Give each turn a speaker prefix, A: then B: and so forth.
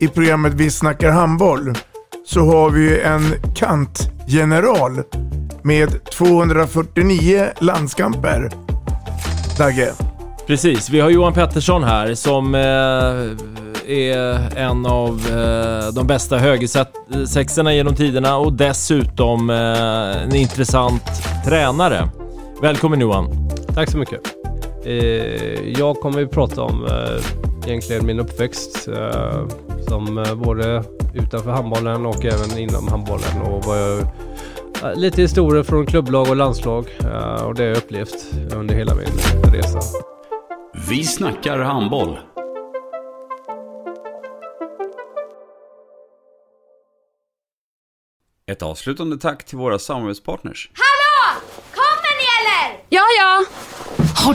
A: i programmet Vi snackar handboll så har vi ju en kantgeneral med 249 landskamper. Dagge,
B: Precis, vi har Johan Pettersson här som eh, är en av eh, de bästa högersexorna genom tiderna och dessutom eh, en intressant tränare. Välkommen Johan!
C: Tack så mycket. Eh, jag kommer ju prata om eh, egentligen min uppväxt eh, som eh, både utanför handbollen och även inom handbollen och vad jag, eh, lite historier från klubblag och landslag eh, och det har jag upplevt under hela min resa.
D: Vi snackar handboll. Ett avslutande tack till våra samarbetspartners.
E: Hallå! Kommer ni eller?
F: Ja, ja.
G: Har